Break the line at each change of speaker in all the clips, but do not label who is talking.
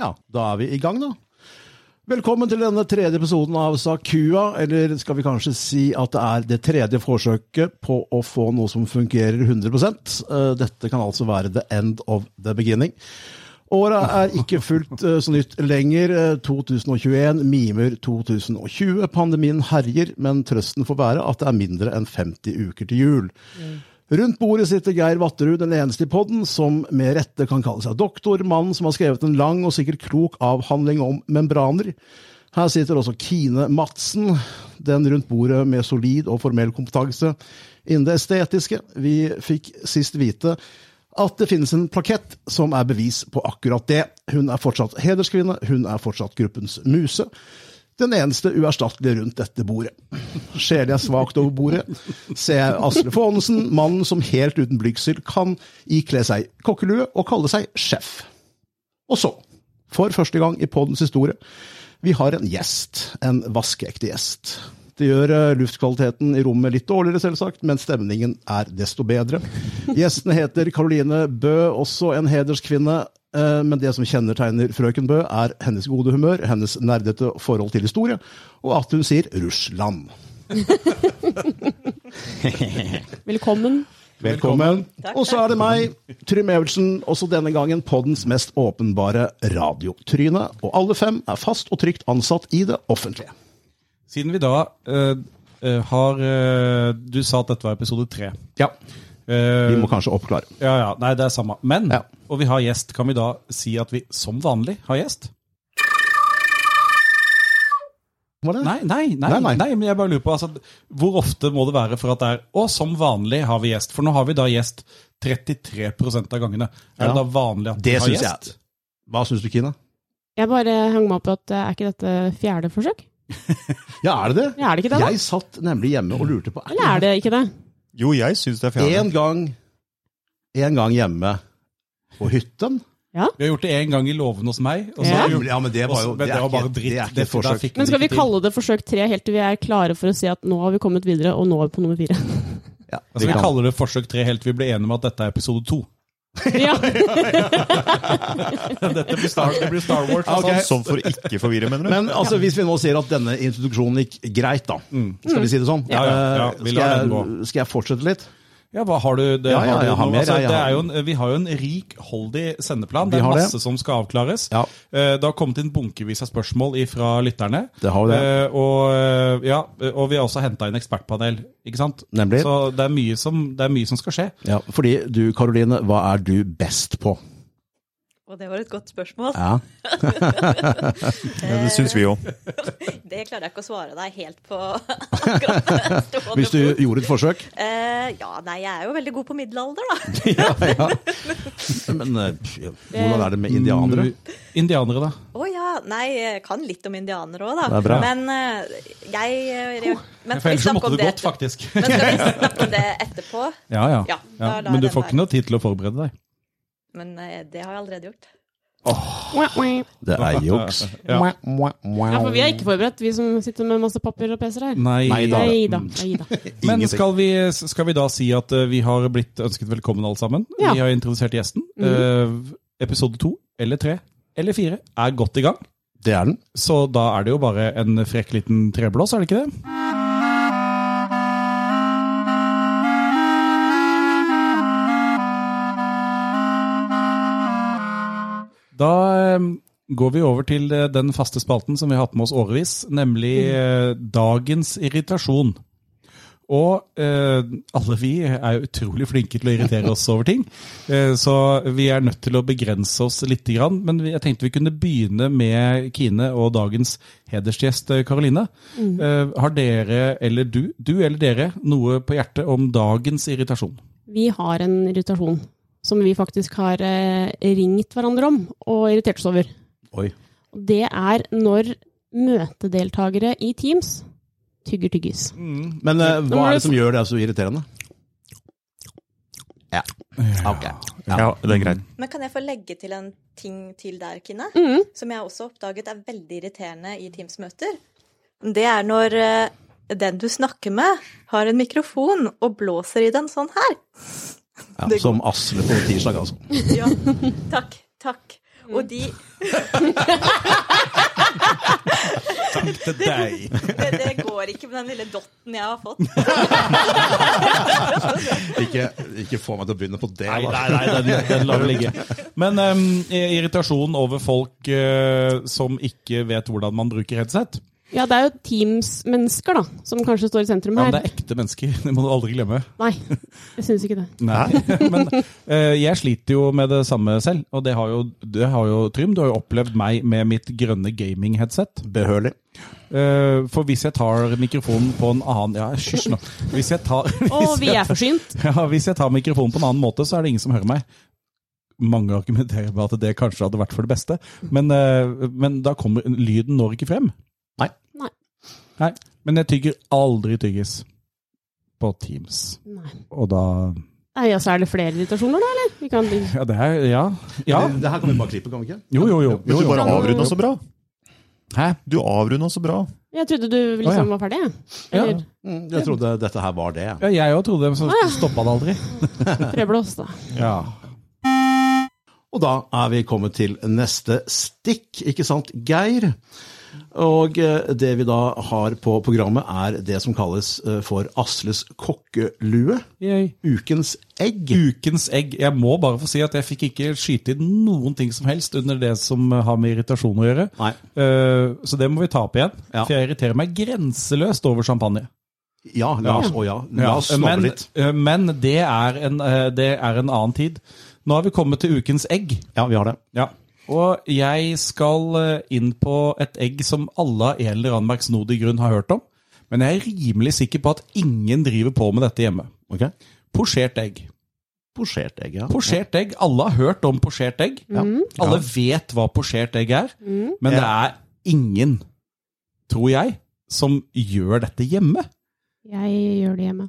Ja, da er vi i gang, da. Velkommen til denne tredje episoden av Sakua, eller skal vi kanskje si at det er det tredje forsøket på å få noe som fungerer 100 Eh, Dette kan altså være the end of the beginning. Året er ikke fullt eh, så nytt lenger. Eh, 2021 mimer 2020. Pandemien herjer, men trøsten får være at det er mindre enn 50 uker til jul. Rundt bordet sitter Geir Vatterud, den eneste i podden, som med rette kan kalle seg doktor, mannen som har skrevet en lang og sikkert klok avhandling om membraner. Her sitter også Kine Madsen, den rundt bordet med solid og formell kompetanse innen det estetiske. Vi fikk sist vite at det finnes en plakett som er bevis på akkurat det. Hun er fortsatt hederskvinne, hun er fortsatt gruppens muse. Den eneste uerstattelige rundt dette bordet. Skjeler jeg svakt over bordet, ser jeg Asle Faanesen, mannen som helt uten blygsel kan ikle seg kokkelue og kalle seg sjef. Og så, for første gang i poddens historie, vi har en gjest. En vaskeekte gjest. Det gjør eh, luftkvaliteten i rommet litt dårligere, selvsagt, men stemningen er desto bedre. Gjesten heter Caroline Bø, også en hederskvinne. eh, Men det som kjennetegner frøken Bø, er hennes gode humør, hennes nerdete forhold til historie, og at hun sier 'Russland'.
Velkommen.
Velkommen. Og så er det meg, Trym Evertsen, også denne gangen poddens mest åpenbare radiotryne. Og alle fem er fast og trygt ansatt i det offentlige.
Siden vi da eh, eh, har eh, Du sa at dette var episode tre.
Ja,
Eh,
vi må kanskje oppklare.
ja, ja, nei, det er samme. Men,
Ja.
og vi har gjest. Kan vi da si at vi som vanlig har gjest?
Var det?
Nei, nei, nei.
Nei,
nei,
nei.
men jeg bare lurer på altså, Hvor ofte må det være for at det er Og som vanlig har vi gjest. For nå har vi da gjest 33 av gangene.
Ja.
Er det da vanlig at
Det
vi har
syns
gjest?
jeg. Hva syns du, Kine?
Jeg bare hang meg opp i at eh, er ikke dette fjerde forsøk?
Ja, er det det?
Ja, er det ikke det? da?
Jeg satt nemlig hjemme og lurte på
Eller er det ikke det?
Jo, jeg syns det er fjerde.
En gang, en gang hjemme på hytten.
Vi har gjort det én gang i låven hos meg. Og så
Ja.
har vi gjort-
Ja, men det var jo
og så- Altså, men det var bare dritt.
Det er ikke et
Dette der
forsøk.
fikk vi
Men skal vi
ikke til.
kalle det forsøk tre helt til vi er klare for å si at nå har vi kommet videre, og nå er vi på nummer fire?
Ja,
altså,
vi
Vi
kan.
kaller det forsøk tre helt til vi ble enige om at dette er episode to.
Ja,
Dette blir Star, det blir Star Wars.
Ok.
altså.
Sånn for å ikke forvirre, mener du?
Men altså, hvis vi nå sier at denne introduksjonen gikk greit, da. Skal vi si det sånn?
Mm. Ja, ja, ja, vi
Eh,
lar den
skal,
gå.
jeg, skal jeg fortsette litt?
Ja, hva har du? Det,
Ja, ja,
har du
jeg har
noe-
mer,
altså,
jeg
det
har-
er jo en, vi har jo en rik, holdig sendeplan. Det
Vi
er
har det.
masse som skal avklares.
Ja.
Eh, Det har kommet inn bunkevis av spørsmål fra lytterne.
Det har vi det.
Eh, Og, eh, ja, og vi har også henta inn ekspertpanel, ikke sant?
Nemlig.
Så det er mye som, det er mye som skal skje.
Ja, fordi du, Karoline, hva er du best på?
Og det var et godt spørsmål.
Ja.
Det syns vi jo.
Det klarer jeg ikke å svare deg helt på. akkurat stående
Hvis du
fot.
gjorde et forsøk?
Eh, ja, nei, jeg er jo veldig god på middelalder, da.
ja, ja. Men eh, pff, hvordan er det med indianere?
Mm. Indianere, da.
Å ja. Nei, jeg kan litt om indianere òg, da.
Det er bra.
Men eh, jeg eh,
For
Men skal vi
ellers så
snakke
måtte det
om det,
gått, faktisk.
men skal vi snakke om det etterpå?
Ja, ja.
Ja, da lar
Men du
jeg
får
den
ikke noe tid til å forberede deg.
Men eh, det har jeg allerede gjort.
ja
Det er juks.
Ja.
for vi er ikke forberedt, vi som sitter med masse papir og PC-er her.
Nei,
Nei da.
Nei da. Nei da.
Men
Ingenting.
skal vi, skal vi da si at eh, vi har blitt ønsket velkommen alle sammen?
Ja.
Vi har introdusert gjesten. Eh, episode to eller tre eller fire er godt i gang.
Det er den.
Så da er det jo bare en frekk liten treblås, er det ikke det? Da eh, går vi over til eh, den faste spalten som vi har hatt med oss årevis, nemlig eh, dagens irritasjon. Og eh, alle vi er jo utrolig flinke til å irritere oss over ting, eh, så vi er nødt til å begrense oss litt. Grann, men vi- jeg tenkte vi kunne begynne med Kine og dagens hedersgjest eh, Karoline. Eh, har dere, eller du, du eller dere, noe på hjertet om dagens irritasjon?
Vi har en irritasjon som vi faktisk har eh, ringt hverandre om og irritert oss over.
Oi.
Og det er når møtedeltakere i Teams tygger tyggis.
Men eh,
må
hva er
du-
det som gjør det så irriterende? Ja. Ok. Ja.
Ja, det er greit.
Men kan jeg få legge til en ting til der, Kine? Som jeg også oppdaget er veldig irriterende i Teams-møter. Det er når eh, den du snakker med, har en mikrofon og blåser i den sånn her.
Ja, som Asle på tirsdag, altså.
Ja, takk, takk. Og de jeg har fått.
Ikke, ikke få meg til å begynne på det.
Nei,
da.
nei, nei den, den lar vi ligge. Men em, irritasjon over folk eh, som ikke vet hvordan man bruker headset.
Ja, det er jo Teams-mennesker, da, som kanskje står i sentrum
Ja,
her.
men det er ekte mennesker, det må du aldri glemme.
Nei, jeg syns ikke det.
Nei, men eh, jeg sliter jo med det samme selv, og det har jo, det har jo Trym, du har jo opplevd meg med mitt grønne gaming-headset.
Behørig.
Eh, for hvis jeg tar mikrofonen på en annen Ja, hysj nå. Hvis jeg tar,
Og
hvis
vi er
jeg,
forsynt.
ja, hvis jeg tar mikrofonen på en annen måte, så er det ingen som hører meg. Mange argumenterer med at det kanskje hadde vært for det beste, men, eh, men da kommer lyden når ikke frem.
Nei.
Nei.
Nei. Men jeg tygger aldri tyggis på Teams,
Nei.
og da
Nei, ja, så er det flere irritasjoner, da, eller? Vi kan...
Ja, det er Ja. ja.
Det, det her kan vi bare klippe, kan vi ikke?
Jo, jo, jo.
Men du bare
jo.
avrunda så bra.
Hæ?
Du avrunda så bra.
Jeg trodde du liksom
Å, ja.
var ferdig, jeg.
Ja.
Eller
Mm, Jeg trodde dette her var det.
Ja, jeg òg trodde det, men så stoppa det aldri.
prøveblås, da.
Ja.
Og da er vi kommet til neste stikk, ikke sant, Geir? Og eh, det vi da har på programmet, er det som kalles eh, for Asles kokkelue. Ukens egg.
Ukens egg. Jeg må bare få si at jeg fikk ikke skyte inn noen ting som helst under det som har med irritasjon å gjøre.
Nei.
Eh, så det må vi ta opp igjen.
Ja.
For jeg irriterer meg grenseløst over champagne.
Ja, la oss, å ja, la oss snabbe
men,
litt.
eh, men det, er en, eh, det er en annen tid. Nå har vi kommet til ukens egg.
Ja, vi har det.
Ja. Og jeg skal eh, inn på et egg som alle av en eller annen merksnodig grunn har hørt om. Men jeg er rimelig sikker på at ingen driver på med dette hjemme.
Ok.
Posjert egg.
Posjert egg, ja.
Posjert egg. Alle har hørt om posjert egg.
Ja.
Alle vet hva posjert egg er.
Mm.
Men det er ingen, tror jeg, som gjør dette hjemme.
Jeg gjør det hjemme.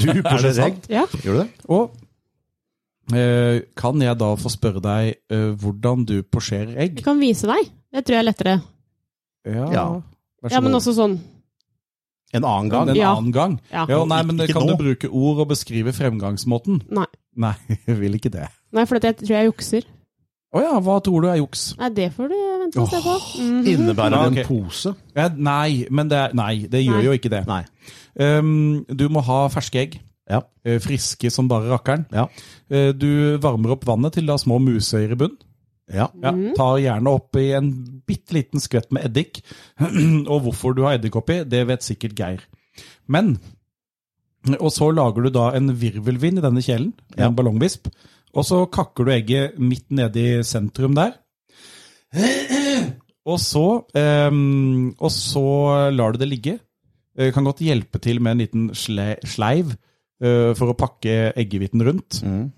Du posjert egg?
sant?
Ja.
Gjør du det?
Og eh, kan jeg da få spørre deg eh, hvordan du posjerer egg?
Jeg kan vise deg. Det tror jeg er lettere.
Ja.
Vær så
Ja, men
god.
også sånn.
En annen gang?
en
Ja.
annen gang.
Ja.
Ja, nei, men
Ikke
Kan
nå.
du bruke ord og beskrive fremgangsmåten?
Nei.
Nei, jeg vil ikke det.
Nei, for at jeg tror jeg jukser.
Å ja, hva tror du er juks?
Nei, det får du vente og se på. Mhm.
Mm. Innebærer det
Ja, ok.
en pose?
Ja, nei, men det, er, nei, det gjør
Nei.
jo ikke det.
Nei.
Um, du må ha ferske egg.
Ja.
Eh, Friske som bare rakkeren.
Ja.
Eh, Du varmer opp vannet til det har små musøyer i bunn.
Ja.
Ja, Tar gjerne oppi en bitte liten skvett med eddik. og hvorfor du har eddik oppi, det vet sikkert Geir. Men Og så lager du da en virvelvind i denne kjelen,
Ja.
en ballongvisp. Og så kakker du egget midt nede i sentrum der. Og så, ehm, og så lar du det ligge. Eh, Kan godt hjelpe til med en liten sle sleiv eh, for å pakke eggehviten rundt.
Mm.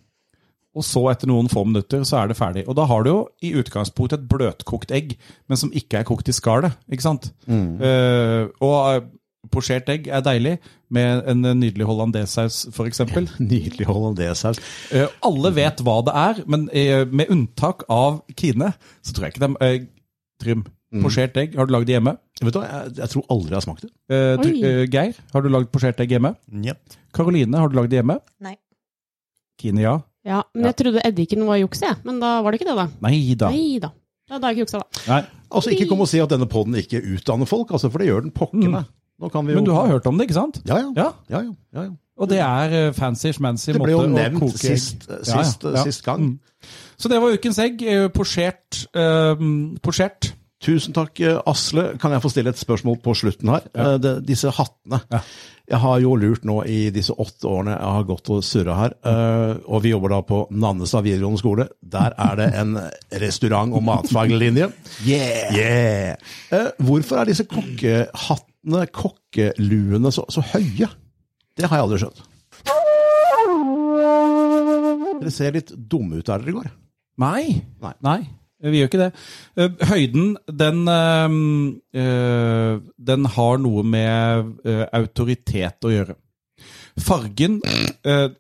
Og så etter noen få minutter så er det ferdig. Og da har du jo i utgangspunktet et bløtkokt egg, men som ikke er kokt i skallet. Ikke sant?
Mm.
Eh, og eh, posjert egg er deilig, med en eh, nydelig hollandesaus f.eks.
Nydelig hollandesaus.
Uh, alle vet hva det er, men eh, med unntak av Kine, så tror jeg ikke de eh, Trym, posjert egg, har du lagd det hjemme?
Vet du hva, jeg, jeg tror aldri jeg har smakt det.
Eh, tr
Oi.
eh, Geir, har du lagd posjert egg hjemme?
Njet.
Karoline, har du lagd det hjemme?
Nei.
Kine, ja.
Ja, men jeg trodde eddiken var juks, jeg. Men da var det ikke det, da.
Nei da.
Nei da. Da har jeg ikke juksa, da.
Nei.
Altså, Ikke kom og si at denne poden ikke utdanner folk, altså, for det gjør den pokker meg. Nå kan vi jo
Mm. Men du har hørt om det, ikke sant?
Ja, ja.
Ja.
ja, ja, ja, ja.
Og det er eh, fancy schmancy
Det
måte
ble jo
å koke
nevnt
egg.
sist,
Ja, ja,
sist, eh,
ja.
sist gang.
Mm. Så det var ukens egg. eh, Posjert. eh, posjert.
Tusen takk, eh, Asle. Kan jeg få stille et spørsmål på slutten her? Eh, Det, disse hattene.
Ja.
Jeg har jo lurt nå i disse åtte årene jeg har gått og surra her, eh, og vi jobber da på Nannestad videregående skole. Der er det en restaurant- og matfaglinje. Yeah! Eh, Hvorfor er disse kokkehattene, kokkeluene, så, så høye? Det har jeg aldri skjønt. Dere ser litt dumme ut der dere går.
Nei.
Nei.
Vi gjør ikke det. Eh, Høyden, den eh, eh, Den har noe med eh, autoritet å gjøre. Fargen eh,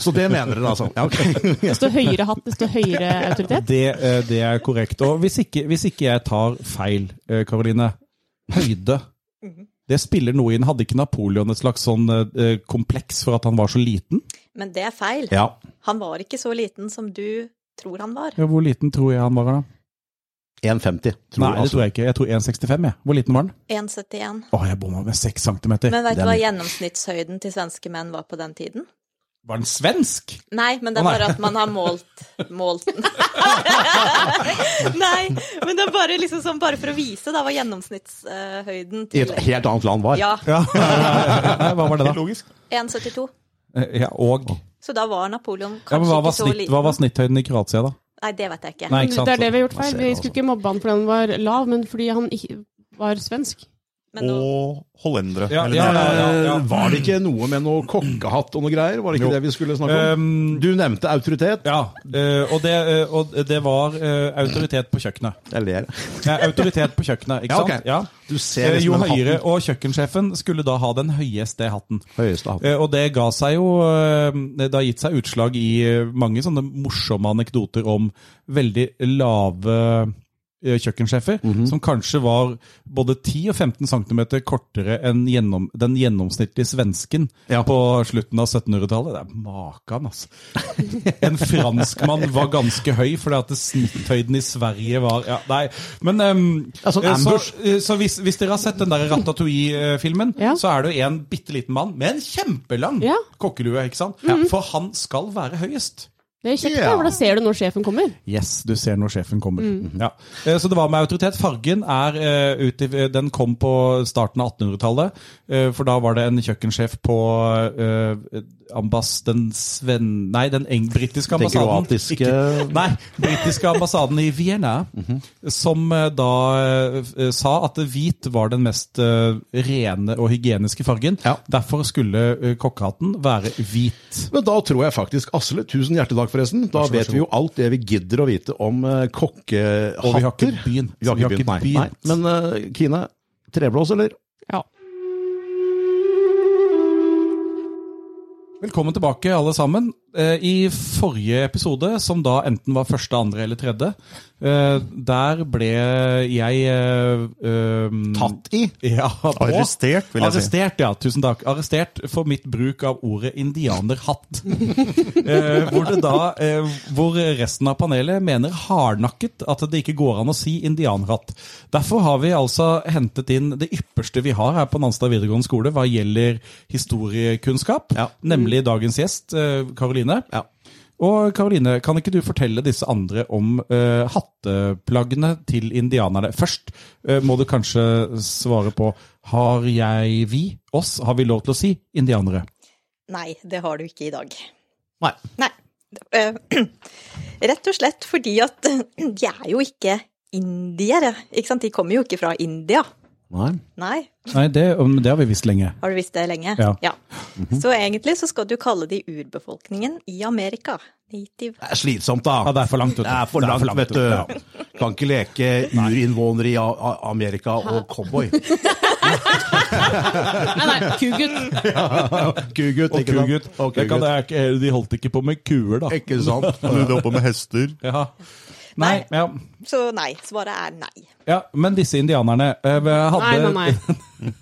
Så det mener dere, altså? Ja, ok.
Desto høyere hatt, desto høyere autoritet.
det, eh, det er korrekt. Og hvis ikke, hvis ikke jeg tar feil, eh, Karoline Høyde. Det spiller noe inn. Hadde ikke Napoleon et slags sånn eh, kompleks for at han var så liten?
Men det er feil.
Ja.
Han var ikke så liten som du tror han var.
Ja, hvor liten tror jeg han var da?
1,50.
Nei,
altså,
det tror jeg ikke. Jeg tror 1,65. jeg. Hvor liten var den?
1,71.
Å, jeg bomma med 6 cm.
Men vet du
Den-
hva gjennomsnittshøyden til svenske menn var på den tiden?
Var den svensk?
Nei, men det
Å,
er
nei.
bare at man har målt, målt den. nei, men det er bare liksom sånn, bare for å vise da, hva gjennomsnittshøyden
I
til
et helt annet land var.
Ja,
Ja. hva var det, da?
Helt logisk.
1,72.
Eh, Ja, og
Så da var
ja,
Napoleon
men
kanskje
hva, var
ikke så
snitt,
liten.
hva var snitthøyden i Kroatia, da?
Nei, det vet jeg ikke.
Nei, ikke sant?
Det er det vi har gjort
Man
feil.
ser
Vi
det,
skulle ikke mobbe han fordi han var lav, men fordi han ikke var svensk.
Men nå,
Og hollendere.
Ja,
eller
ja,
noe.
ja.
Eh, Var det ikke noe med noe kokkehatt og noe greier? Var det ikke
Jo.
det vi skulle snakke om?
Ehm,
Du nevnte autoritet.
ja, eh, og det, eh, og det var eh, autoritet på kjøkkenet.
Jeg ler.
Ja, autoritet på kjøkkenet, ikke
Ja, ok.
sant? Ja.
Du ser
Eh,
liksom
Jo
den
høyere,
hatten.
og kjøkkensjefen skulle da ha den høyeste hatten.
Høyeste hatten.
Eh, Og det ga seg jo eh, Det har gitt seg utslag i eh, mange sånne morsomme anekdoter om veldig lave eh, kjøkkensjefer,
Mhm.
som kanskje var både 10 og 15 cm kortere enn gjennom, den gjennomsnittlige svensken
Ja.
på slutten av 1700-tallet. Det er makan, altså. En franskmann var ganske høy, fordi at snitthøyden i Sverige var ja, Nei, men ehm,
Ja, sånn
eh, så,
ambush.
eh, så hvis, hvis dere har sett den der Ratatouille-filmen,
Ja.
så er det jo en bitte liten mann med en kjempelang
Ja. Mhm.
kokkelue, ikke sant? For han skal være høyest.
Det er kjekt,
Ja.
da, for da ser du når sjefen kommer.
Yes, du ser når sjefen kommer. Ja. Eh, Så det var med autoritet. Fargen er eh, ut i, Den kom på starten av 1800-tallet. eh, For da var det en kjøkkensjef på eh, ambass... Den sven... Nei, den eng britiske
Den
ambassaden.
kroatiske-
Ikke- Nei, britiske ambassaden i Vienna.
Mhm.
Som eh, da eh, f- eh, sa at hvit var den mest eh, rene og hygieniske fargen.
Ja.
Derfor skulle eh, kokkehatten være hvit.
Men da tror jeg faktisk Asle, tusen hjertelig takk forresten. Da
Vær så god, vær
vet
så
vi jo alt det vi gidder å vite om eh, kokkehatter.
Og vi har ikke begynt.
Vi har ikke begynt, nei. nei. Men eh, Kine, treblås, eller?
Ja.
Velkommen tilbake, alle sammen. Eh, I forrige episode, som da enten var første, andre eller tredje, eh, der ble jeg eh, ehm,
Tatt i.
Ja, på.
Arrestert, vil jeg si.
Arrestert, ja. Tusen takk. Arrestert for mitt bruk av ordet indianerhatt. eh, hvor, det da, eh, hvor resten av panelet mener hardnakket at det ikke går an å si indianerhatt. Derfor har vi altså hentet inn det ypperste vi har her på Nanstad videregående skole hva gjelder historiekunnskap,
Ja.
nemlig dagens gjest, eh, Karoline.
Ja.
Og Karoline, kan ikke du fortelle disse andre om eh, hatteplaggene til indianerne? Først eh, må du kanskje svare på Har jeg vi, oss, har vi lov til å si indianere?
nei, det har du ikke i dag.
Nei.
Nei. Eh, Rett og slett fordi at de er jo ikke indiere, ikke sant? De kommer jo ikke fra India.
Nei.
Nei,
Nei, det, om- det har vi visst lenge.
har du visst det lenge?
Ja.
Så egentlig så skal du kalle de urbefolkningen i Amerika. Native.
Det er slitsomt, da.
Ja, det er for langt, vet du.
Det er for
Det er
langt,
for langt,
vet du. Kan ikke leke urinnvånere i A- A- Amerika og cowboy.
Nei, nei, kugutt.
Kugutt,
Og
ikke sant?
kugutt.
Og
Det kan
kugutt.
jeg ikke- De holdt ikke på med kuer, da.
Ikke sant?
Han rydder opp med hester.
Ja. Nei, ja.
Så nei, svaret er nei.
ja. Men disse indianerne eh,
Nei, nei,
hadde
nei.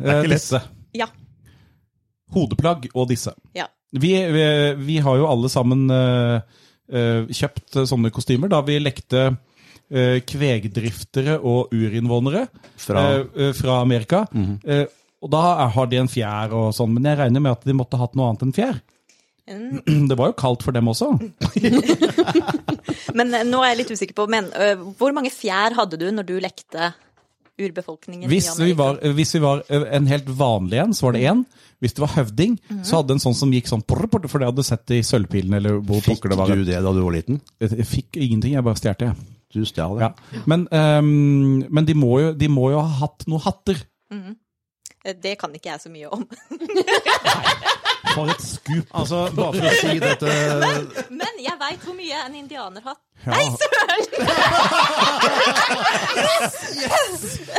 eh,
ikke lett.
disse.
Ja.
Hodeplagg og disse.
Ja.
Vi, vi, vi har jo alle sammen eh, eh, kjøpt sånne kostymer da vi lekte eh, kvegdriftere og urinnvånere
Fra- Mhm.
eh, eh, fra Amerika. Eh, og da har de en fjær og sånn, men jeg regner med at de måtte ha hatt noe annet enn fjær.
Mm.
Det var jo kaldt for dem også.
Men eh, nå er jeg litt usikker på men, eh, Hvor mange fjær hadde du når du lekte urbefolkningen
Hvis
i Amerika?
vi, var, eh, hvis vi var en helt vanlig en, så
Mm.
var det én. Hvis det var høvding, så
Mhm.
hadde en sånn som gikk sånn prr, prr, For det hadde du sett i Sølvpilen, eller hvor
Fikk
pokker det var.
du det da du var liten?
Jeg fikk ingenting, jeg bare stjal det. jeg.
Du stjal det.
Ja. Men, ehm, men de, må jo, de må jo ha hatt noen hatter.
Eh, Det kan ikke jeg så mye om.
For et skup.
Altså, bare for å si dette
Men jeg veit hvor mye en indianerhatt
Nei,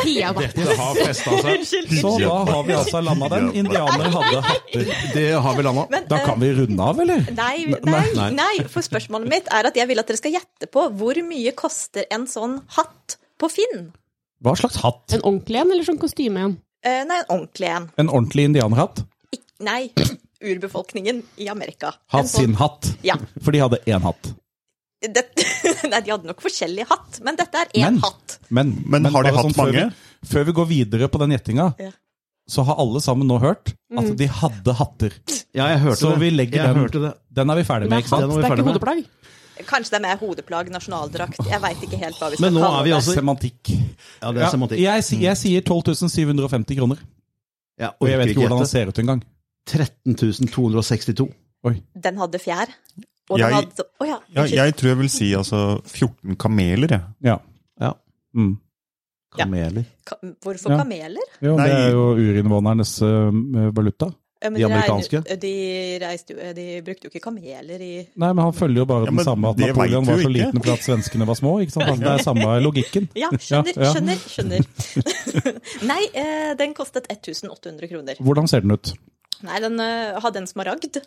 Pia, da.
Dette har festa seg.
så da har vi altså landa den. Indianere hadde hatter.
Det har vi landa.
Men,
Da
eh,
kan vi runde av, eller?
Nei, nei,
Nei,
nei, for spørsmålet mitt er at jeg vil at dere skal gjette på hvor mye koster en sånn hatt på Finn?
Hva slags hatt?
En ordentlig en, eller sånn kostyme en?
Eh, nei, en ordentlig en.
En ordentlig indianerhatt
Ik nei, urbefolkningen i Amerika. En
har
sånn-
sin hatt.
Ja.
For de hadde én hatt.
sånn- det, Nei, de hadde nok forskjellig hatt, men dette er én
Men-
hatt.
Men,
Men har de
bare sånn
hatt
før
mange?
Vi, før vi går videre på den gjettinga,
Ja. Mm.
så har alle sammen nå hørt at de hadde hatter.
Ja, jeg hørte
Så
det.
vi legger
jeg
den.
hørte det.
Den er vi ferdig
Det
med,
er
ikke
sant? Den
hatt, det
var vi
er
ferdig
ikke
med.
hodeplagg.
Kanskje det er mer hodeplagg, nasjonaldrakt. Jeg veit ikke helt hva vi skal
Men nå
kalle
er vi
det.
altså-
sant? Semantikk.
Ja, det er semantikk.
Ja, jeg, si- jeg
Mm.
sier 12 750 kroner.
Jeg
Og jeg vet ikke hvordan han
gjette.
ser ut engang.
13 262.
Den hadde fjær. Og
Jeg-
den hadde Å ja.
Ja,
unnskyld.
jeg tror jeg vil si altså 14 kameler, jeg.
Ja.
Ja.
Mm.
Ja.
Kameler.
Ka Hvorfor
Ja.
kameler?
Jo,
Nei.
det er jourinnvånernes ø, valuta.
Ja, men
De
regner-
amerikanske?
De, reiste, jo- de brukte jo ikke kameler i
Nei, men han følger jo bare
Ja,
den
men
samme at
det vet
Napoleon
vi
var så
jo ikke.
liten for at svenskene var små. ikke sant? Altså, det er samme logikken.
Ja, skjønner,
Ja, ja.
skjønner, skjønner. Nei, eh, den kostet 1800 kroner.
Hvordan ser den ut?
Nei, den eh, hadde en smaragd.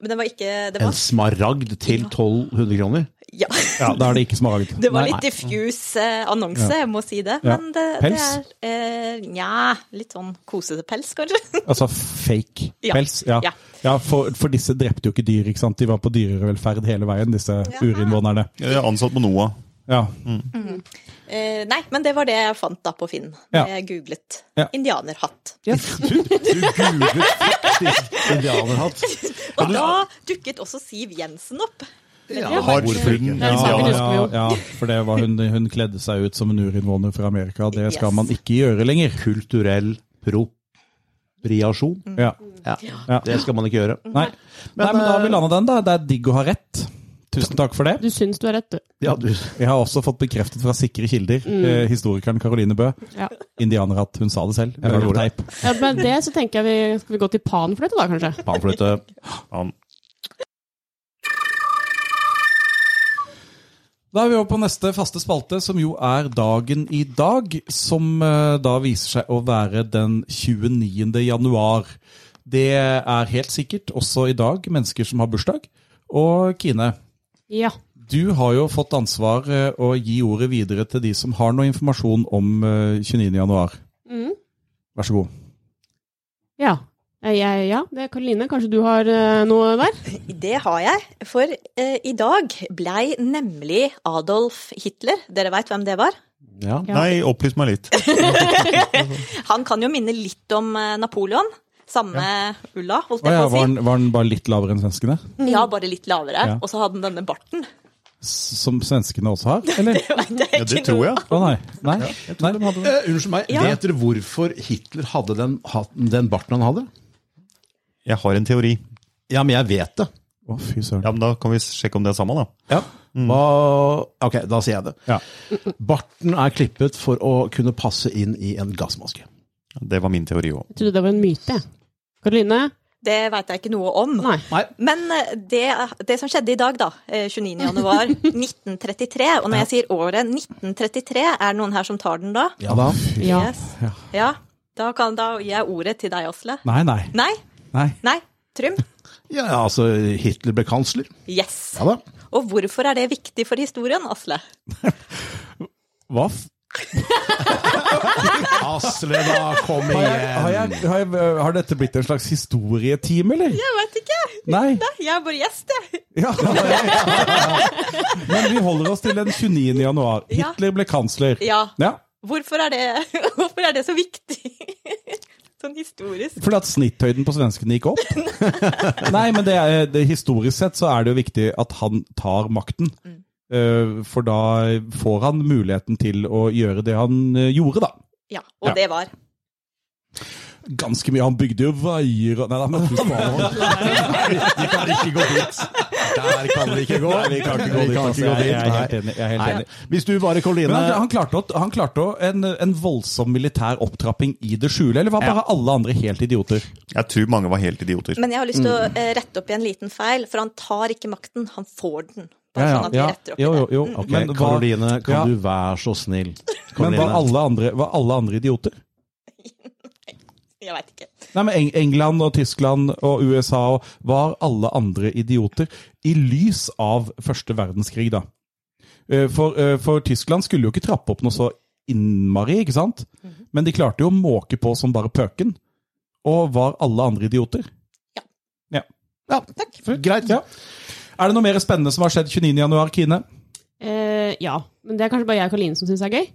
Men den var ikke Det
En
var,
smaragd til 1200 kroner.
ja,
Ja, Da er det ikke smaragd.
det var
Nei.
litt diffus eh, annonse, jeg må si det.
Ja.
Men det, det
Pels?
er eh, Nja, litt sånn kosete pels, kanskje.
Altså fake
Ja.
pels? Ja.
Ja.
ja for, for disse drepte jo ikke dyr, ikke sant? De var på dyrevelferd hele veien, disse urinnvånerne.
Jeg er ansatt på NOAH.
Ja. Mm.
Eh, nei, men det var det jeg fant da på Finn.
Ja.
Jeg googlet
Ja.
indianerhatt.
Du, du googlet faktisk indianerhatt.
Og da dukket også Siv Jensen opp.
Ja,
Har
hvorfor ikke?
hun
Ja, saken
indianer?
husker vi jo.
ja, for det var hun, hun kledde seg ut som en urinnvåner fra Amerika. Det skal
Yes.
man ikke gjøre lenger.
Kulturell propriasjon.
Ja.
Ja.
Ja.
Det skal man ikke gjøre.
Nei. Nei, men da har vi landa den, da. Det er digg å ha rett. Tusen takk for det.
Du syns du har rett, du.
Ja, du,
Jeg har også fått bekreftet fra sikre kilder, eh, historikeren Caroline Bø,
Ja.
indianerhatt. Hun sa det selv. Jeg
Bra
har det på
gjorde.
teip.
Ja, med det så tenker jeg vi skal vi gå til panfløyte, da, kanskje.
panflytte.
Han-
Da er vi over på neste faste spalte, som jo er dagen i dag. Som eh, da viser seg å være den 29. januar. Det er helt sikkert også i dag mennesker som har bursdag. Og Kine,
Ja.
du har jo fått ansvar eh, å gi ordet videre til de som har noe informasjon om eh, 29. januar.
Mm.
Vær så god.
Ja. Eh, Jeg, ja, det er Karoline. Kanskje du har eh, noe der?
Det har jeg, for eh, i dag blei nemlig Adolf Hitler Dere veit hvem det var?
Ja.
Ja.
Nei, opplys meg litt.
Han kan jo minne litt om eh, Napoleon. Samme ulla, holdt
Å
jeg
ja,
på å
var
si.
den, var den bare litt lavere enn svenskene?
Ja, bare litt lavere.
Ja.
Og så hadde han denne barten.
S- Som svenskene også har? Eller?
Det vet jeg
Ja,
ikke
det tror
noe
jeg.
Å nei. nei. nei.
Eh, unnskyld meg,
Ja.
vet dere hvorfor Hitler hadde den, hatten- den barten han hadde?
Jeg har en teori.
Ja, men jeg vet det.
Å, fy søren.
Ja, men Da kan vi sjekke om det er samme, da.
Ja. Hva, ok, da sier jeg det.
Mm. Ja.
Barten er klippet for å kunne passe inn i en gassmaske.
Det var min teori òg.
Jeg trodde det var en myte, jeg. Karoline?
om. Det vet jeg ikke noe om.
Nei.
Nei,
Men eh, det, det som skjedde i dag, da, eh, 29. januar 1933 Og når jeg sier året 1933, er det noen her som tar den da?
ja da.
Ja.
Yes. Ja. Da, kan, da gir jeg ordet til deg, Asle.
Nei, nei.
Nei?
nei.
Nei? Trym?
Ja, altså, Hitler ble kansler.
Yes.
Ja da.
Og hvorfor er det viktig for historien, Asle?
Hva f...
Asle, da, kom
Har, jeg, har, jeg, har, jeg, har dette blitt en slags historietime, eller?
Jeg vet ikke.
Nei.
Jeg er bare gjest, jeg.
Ja. Men vi holder oss til den 29. januar.
Ja.
Hitler ble kansler.
Ja.
Ja.
Hvorfor er det, hvorfor er det så viktig? Sånn historisk.
Fordi at snitthøyden på svenskene gikk opp? Nei, men det er, det, historisk sett så er det jo viktig at han tar makten. Eh, For da får han muligheten til å gjøre det han eh, gjorde, da.
Ja, og
Ja.
det var.
Ganske mye. Han bygde jo veier og Nei da, men fy faen.
Vi kan ikke gå dit. Der kan vi ikke gå.
Nei, vi kan ikke gå
Vi
dit,
kan
altså.
ikke gå dit,
Jeg- jeg er helt
nei.
enig, jeg er helt
Nei.
enig.
Hvis du bare, Karoline
Men han, han klarte, å- han klarte å- en, en voldsom militær opptrapping i det skjule, eller var bare alle andre helt idioter?
Jeg tror mange var helt idioter.
Men jeg har lyst til å
Mm.
eh, rette opp i en liten feil, for han tar ikke makten, han får den. Bare sånn at vi retter opp i
Jo,
det. Mm.
jo, jo.
Ok,
Men, var,
Karoline, kan
Ja.
du være så snill?
men
Karoline.
var, alle andre, var alle andre idioter?
Jeg veit ikke.
Nei, men Eng- England og Tyskland og USA og var alle andre idioter i lys av første verdenskrig, da. Eh, For, eh, for Tyskland skulle jo ikke trappe opp noe så innmari, ikke sant? Men de klarte jo å måke på som bare pøken. Og var alle andre idioter?
Ja.
Ja.
Ja, greit.
Ja. Er det noe mer spennende som har skjedd 29. januar, Kine?
Eh, ja, men det er kanskje bare jeg og Karoline som syns det er gøy.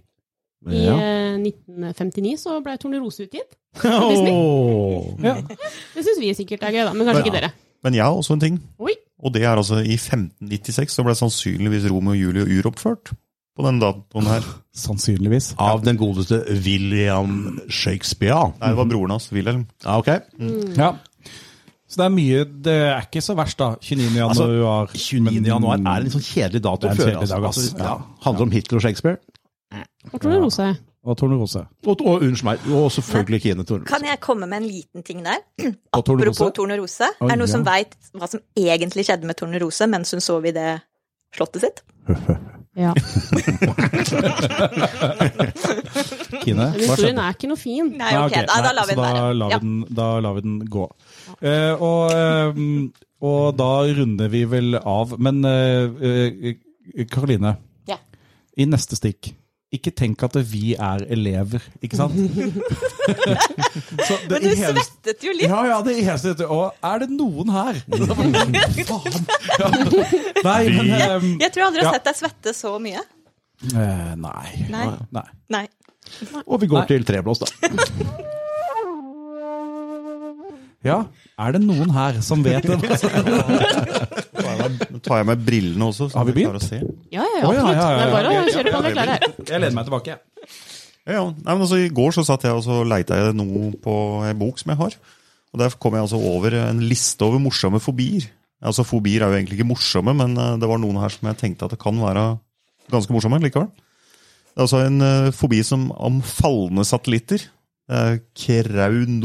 I
Ja.
eh, 1959 så ble Tornerose utgitt.
Åh.
Ja.
Det syns vi sikkert er gøy, da, men kanskje
Ja.
ikke dere.
Men jeg har også en ting.
Oi.
Og det er altså i 1596 så ble sannsynligvis Romeo og Julie uroppført på den datoen her.
Sannsynligvis.
Av den godeste William Shakespeare.
Nei, det var broren hans, Wilhelm.
Ja, ok.
Ja. Så det er mye Det er ikke så verst, da. 29. januar.
29.
men-
januar er en sånn kjedelig dato.
Mm. Det er en
å føre,
kjedelig dag, ass.
Altså, ja. Handler om Hitler og Shakespeare.
Og Tornerose.
Og Tornerose.
Og, og unnskyld meg, og selvfølgelig Kine Tornerud.
Kan jeg komme med en liten ting der?
Og Tornerose.
Apropos Tornerose.
Oi,
Er det noen som
ja.
veit hva som egentlig skjedde med Tornerose mens hun sov i det slottet sitt?
Ja.
Kine,
Men
hva
historien
skjedde?
er ikke noe fin.
Nei, ok, da, da lar vi
så da
den være.
lar vi
Ja.
den, da lar vi den gå. Eh, og, eh, og da runder vi vel av. Men eh, eh, Karoline,
Ja.
i neste stikk ikke tenk at vi er elever, ikke sant? Så det-
Men du
i hele-
svettet jo litt.
Ja, ja, det eneste Og er det noen her? Faen! Ja. Nei, men ehm,
Jeg tror jeg aldri
Ja.
har sett deg svette så mye.
eh, Nei.
Nei.
Nei.
Nei.
Og vi går til treblås, da.
Ja, er det noen her som vet det?
Nå tar jeg med brillene også. så
Har vi
jeg klarer
begynt?
å se.
Ja, ja,
Å, ja,
absolutt.
ja, ja,
Det er bare
ja.
å kjøre på, vi er klare her.
Jeg lener meg tilbake.
Ja, ja. Nei, men altså, I går så satt jeg og så leita jeg noe på en bok som jeg har. Og Der kom jeg altså over en liste over morsomme fobier. Altså Fobier er jo egentlig ikke morsomme, men eh, det var noen her som jeg tenkte at det kan være ganske morsomme likevel. Det er altså en eh, fobi som om falne satellitter. Eh,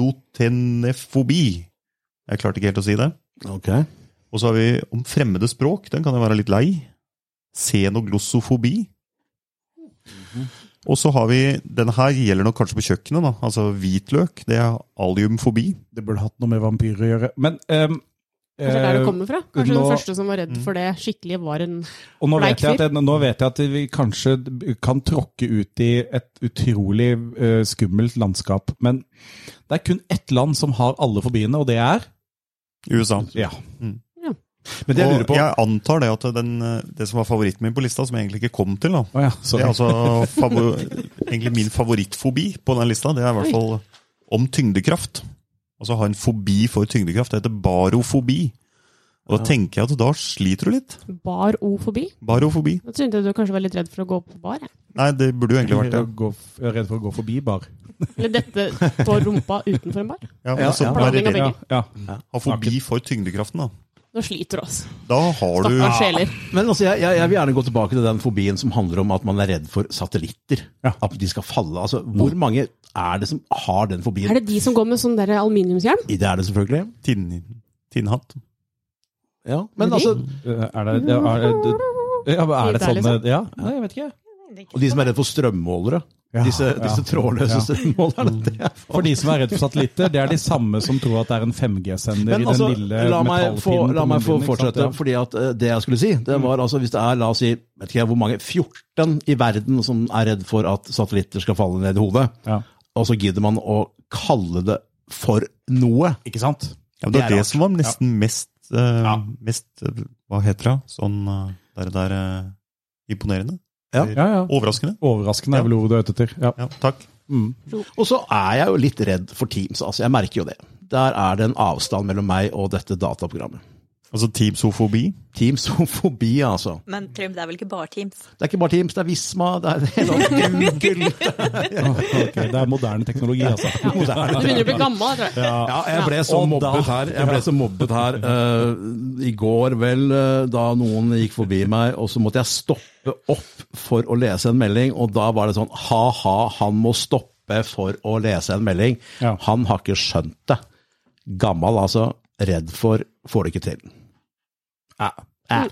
Keraunotenefobi. Jeg klarte ikke helt å si det.
Ok.
Og så har vi om fremmede språk. Den kan jeg være litt lei. Xenoglossofobi. Og så har vi Den her gjelder nok kanskje på kjøkkenet. da, Altså hvitløk. Det er aliumfobi.
Det burde hatt noe med vampyrer å gjøre. Men ehm,
Kanskje det er der
eh,
det kommer fra? Kanskje
nå- Mm.
den første som var redd for det skikkelige, var en
Og nå vet,
Bleik
jeg at, nå vet jeg at vi kanskje kan tråkke ut i et utrolig eh, skummelt landskap, men det er kun ett land som har alle fobiene, og det er Mm.
USA.
Ja.
Men det jeg lurer
Og
på
jeg antar det at den, eh, det som var favoritten min på lista, som jeg egentlig ikke kom til, da,
Å ja,
det
sorry.
er altså favo egentlig min favorittfobi på den lista. Det er i hvert fall om tyngdekraft. Altså ha en fobi for tyngdekraft. Det heter barofobi. Og da tenker jeg at da sliter du litt.
bar-o-fobi.
Barofobi.
Da syntes jeg du kanskje var litt redd for å gå på bar. Jeg.
Nei, det burde jo
Jeg er
egentlig vært det.
redd for å gå- jeg er redd for å gå forbi bar.
Eller dette på rumpa utenfor en bar.
Ja, men
Ja,
altså,
ja.
bare
Blanding av
redd-
Ja, ja.
ha fobi for tyngdekraften, da.
Nå sliter du, altså.
Da har du
Stakkars sjeler.
Men altså, jeg, jeg, jeg vil gjerne gå tilbake til den fobien som handler om at man er redd for satellitter.
Ja.
At de skal falle. Altså, hvor mange er det som har den fobien?
Er det de som går med sånn der aluminiumshjelm?
det er det selvfølgelig.
tinn, tinnhatt.
Ja. Men
Er det
altså,
Eh, Er det, ja, er det, ja, men er det
Der,
sånn
liksom.
Ja, nei, jeg vet ikke.
og de som er redd for strømmålere.
Ja,
disse disse
ja.
trådløse
Ja. Mm.
strømmålerne. Det er
For de som er redd for satellitter, det er de samme som tror at det er en 5G-sender i
Men
den
altså,
lille
la meg få,
metallpinnen.
la
på
meg få
munnen din, ikke sant? Mm.
fortsette. fordi at eh, Det jeg skulle si, det var altså hvis det er la oss si, vet ikke jeg hvor mange, 14 i verden som er redd for at satellitter skal falle ned i hodet,
Ja. Ja.
og så gidder man å kalle det for noe.
Ikke sant?
Ja, men
Det
det er
er
det
rart.
som var nesten mest, eh,
Ja.
mest eh, Hva heter det? Sånn eh, der, der eh, imponerende?
Ja.
Eller
Ja, ja.
Overraskende?
Overraskende er vel ordet du er ute etter. Ja.
Ja, takk.
Mm.
Og så er jeg jo litt redd for Teams, altså. Jeg merker jo det. Der er det en avstand mellom meg og dette dataprogrammet.
Altså teamsofobi.
Teamsofobi, altså.
Men Trym, det er vel ikke bare Teams?
Det er ikke bare Teams, det er Visma, det er hele Google.
Ok, det er moderne teknologi, altså.
Du begynner å bli gammel, jeg tror jeg.
Ja, jeg ble så
Og
mobbet
da-
her, jeg ble så mobbet her eh, i går vel, eh, da noen gikk forbi meg, og så måtte jeg stoppe opp for å lese en melding, og da var det sånn, ha-ha, han må stoppe for å lese en melding.
Ja.
Han har ikke skjønt det. Gammel altså, redd for, får det ikke til. Ja, ja,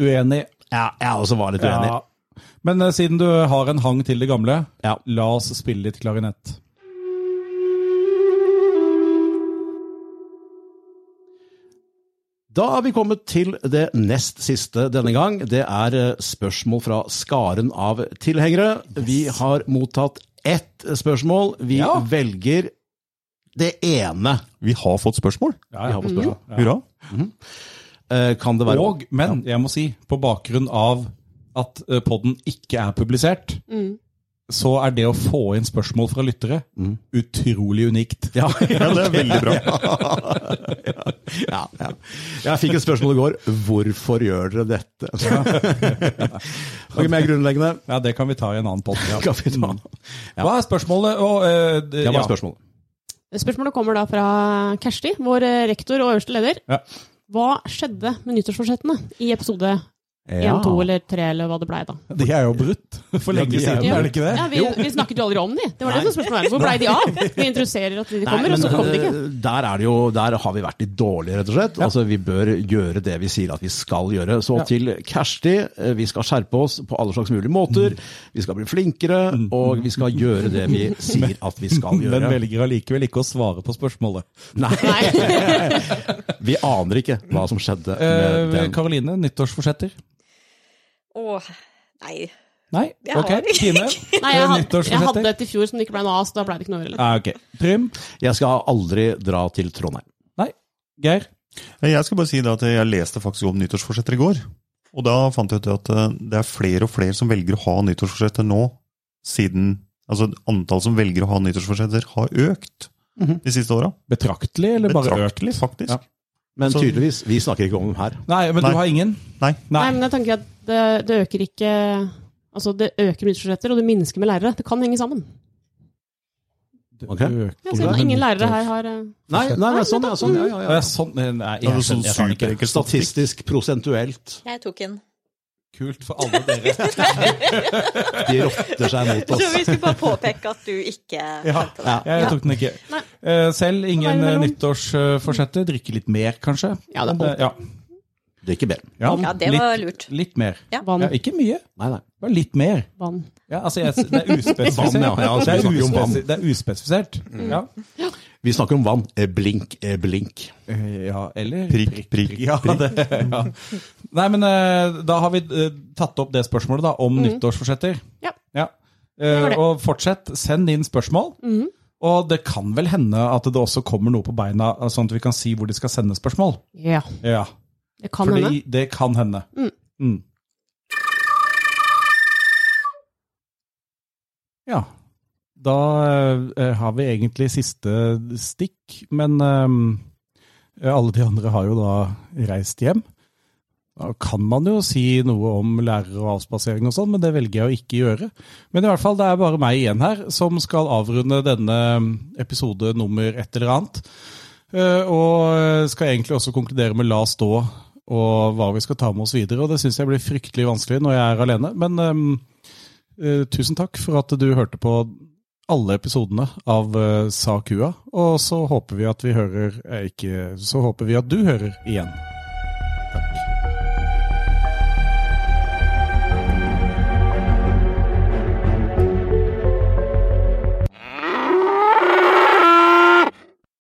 Uenig.
ja jeg også var litt uenig.
Ja. Men eh, siden du har en hang til det gamle,
Ja.
la oss spille litt klarinett.
Da er vi kommet til det nest siste denne gang. Det er eh, spørsmål fra skaren av tilhengere. Vi har mottatt ett spørsmål. Vi
Ja.
velger det ene.
Vi har fått spørsmål.
Ja,
Vi har på spørsmål.
Ja.
Hurra.
Eh, Kan det være
Og, men jeg må si, på bakgrunn av at eh, podden ikke er publisert,
Mm.
så er det å få inn spørsmål fra lyttere
Mm.
utrolig unikt.
Ja,
Ja, det er veldig bra.
ja, ja. Jeg fikk et spørsmål i går. Hvorfor gjør dere dette? Det er ikke mer grunnleggende.
Ja, det kan vi ta i en annen podd. Mm.
Kan vi ta?
Hva er spørsmålet? Og, eh, d-
Det var
ja.
et spørsmål.
Spørsmålet kommer da fra Kjersti, vår eh, rektor og øverste leder.
Ja.
Hva skjedde med nyttårsforsettene i episode
Ja.
1, 2 eller 3, eller hva det blei da?
De er jo brutt for
Ja,
lenge
de er
siden,
jo
er det ikke det?
Ja, vi, vi snakket jo aldri om de. Det var det som spørsmålet var. Hvor blei de av? Vi introduserer at de kommer,
Nei,
og så
men,
kom de ikke.
eh, Der, er det jo, der har vi vært litt dårlige, rett og slett. Altså, vi bør gjøre det vi sier at vi skal gjøre. Så til Kjersti, eh, vi skal skjerpe oss på alle slags mulige måter. Vi skal bli flinkere, og vi skal gjøre det vi sier at vi skal
Men
gjøre.
velger allikevel ikke å svare på spørsmålet.
Nei,
Nei.
vi aner ikke hva som skjedde med
Eh,
den.
Karoline, nyttårsforsetter?
Åh, nei.
Nei?
Jeg
Ok.
har ikke.
Kine?
Nei, jeg
eh,
hadde, jeg hadde
Nyttårsforsetter?
et i fjor som det ikke blei noe av, så da blei det ikke noe ørelett.
Ah, ok. Trym?
Jeg skal aldri dra til Trondheim.
Nei. Geir?
Jeg skal bare si det at jeg leste faktisk om nyttårsforsetter i går. Og da fant jeg ut at eh, det er flere og flere som velger å ha nyttårsforsetter nå, siden altså antall som velger å ha nyttårsforsetter, har økt de siste åra.
Betraktelig, eller bare
Betraktelig,
økt? liksom?
faktisk.
Ja.
Men
Så-
tydeligvis, vi snakker ikke om dem her.
Nei, men
Nei.
du har ingen?
Nei.
Nei, men jeg tenker at det, det øker ikke Altså, det øker med nyttårsforsetter, og det minsker med lærere. Det kan henge sammen.
Ok.
Ja, siden ingen lærere her har eh,
Nei, nei, nei sånn, ja. Sånn, ja, ja,
Ja,
ja.
sånn, nei,
Ja, det
jeg, skjønner,
er sånn
jeg skjønner ikke.
superenkel statistikk.
Statistisk, prosentuelt.
Jeg tok den.
Kult for alle dere.
De rotter seg mot
Jeg
oss.
tror vi skulle bare påpeke at du ikke skjønte det.
Jeg tok den ikke.
Nei.
Eh, Selv
Hva er
ingen
det
eh,
mellom?
nyttårsforsetter. Drikke litt mer, kanskje.
Ja, det er
Men, eh,
Drikker bedre.
ja.
Ja, det var lurt.
Litt, litt mer.
vann.
Ja, ikke mye,
Nei, nei.
bare litt mer.
vann.
Ja, altså, jeg, det er uspesifisert.
Vann, ja. Ja, altså,
det,
vi
er
snakker om vann.
uspesifisert. det er uspesifisert. Ja.
Vi snakker om vann. Eh, Blink, eh, blink.
Eh, ja, eller
Prikk, prikk.
Ja, det, ja. Nei, men eh, da har vi eh, tatt opp det spørsmålet da, om nyttårsforsetter.
Ja.
Eh,
var det.
og fortsett, send inn spørsmål. Og det kan vel hende at det også kommer noe på beina, eh, sånn at vi kan si hvor de skal sende spørsmål.
Ja,
Ja,
det kan
fordi
hende.
det kan hende.
Mm.
Mm. Ja. Da eh, har vi egentlig siste stikk, men eh, alle de andre har jo da reist hjem. Da kan man jo si noe om lærere og avspasering og sånn, men det velger jeg å ikke gjøre. Men i hvert fall, det er bare meg igjen her som skal avrunde denne episode nummer et eller annet. Eh, Og skal egentlig også konkludere med la stå og hva vi skal ta med oss videre. Og det syns jeg blir fryktelig vanskelig når jeg er alene. Men ehm, eh, tusen takk for at du hørte på alle episodene av eh, Sa kua. Og så håper vi at vi hører eh, ikke, så håper vi at du hører igjen.